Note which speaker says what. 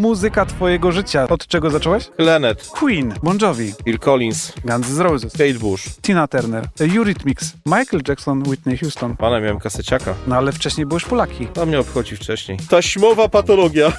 Speaker 1: Muzyka twojego życia. Od czego zacząłeś?
Speaker 2: Lenet,
Speaker 1: Queen, Bon Jovi,
Speaker 2: Bill Collins,
Speaker 1: Guns N' Roses,
Speaker 2: Kate Bush.
Speaker 1: Tina Turner, Eurythmics, Michael Jackson, Whitney Houston.
Speaker 2: Pana miałem kaseciaka.
Speaker 1: No ale wcześniej byłeś Polaki.
Speaker 2: To mnie obchodzi wcześniej. Taśmowa patologia.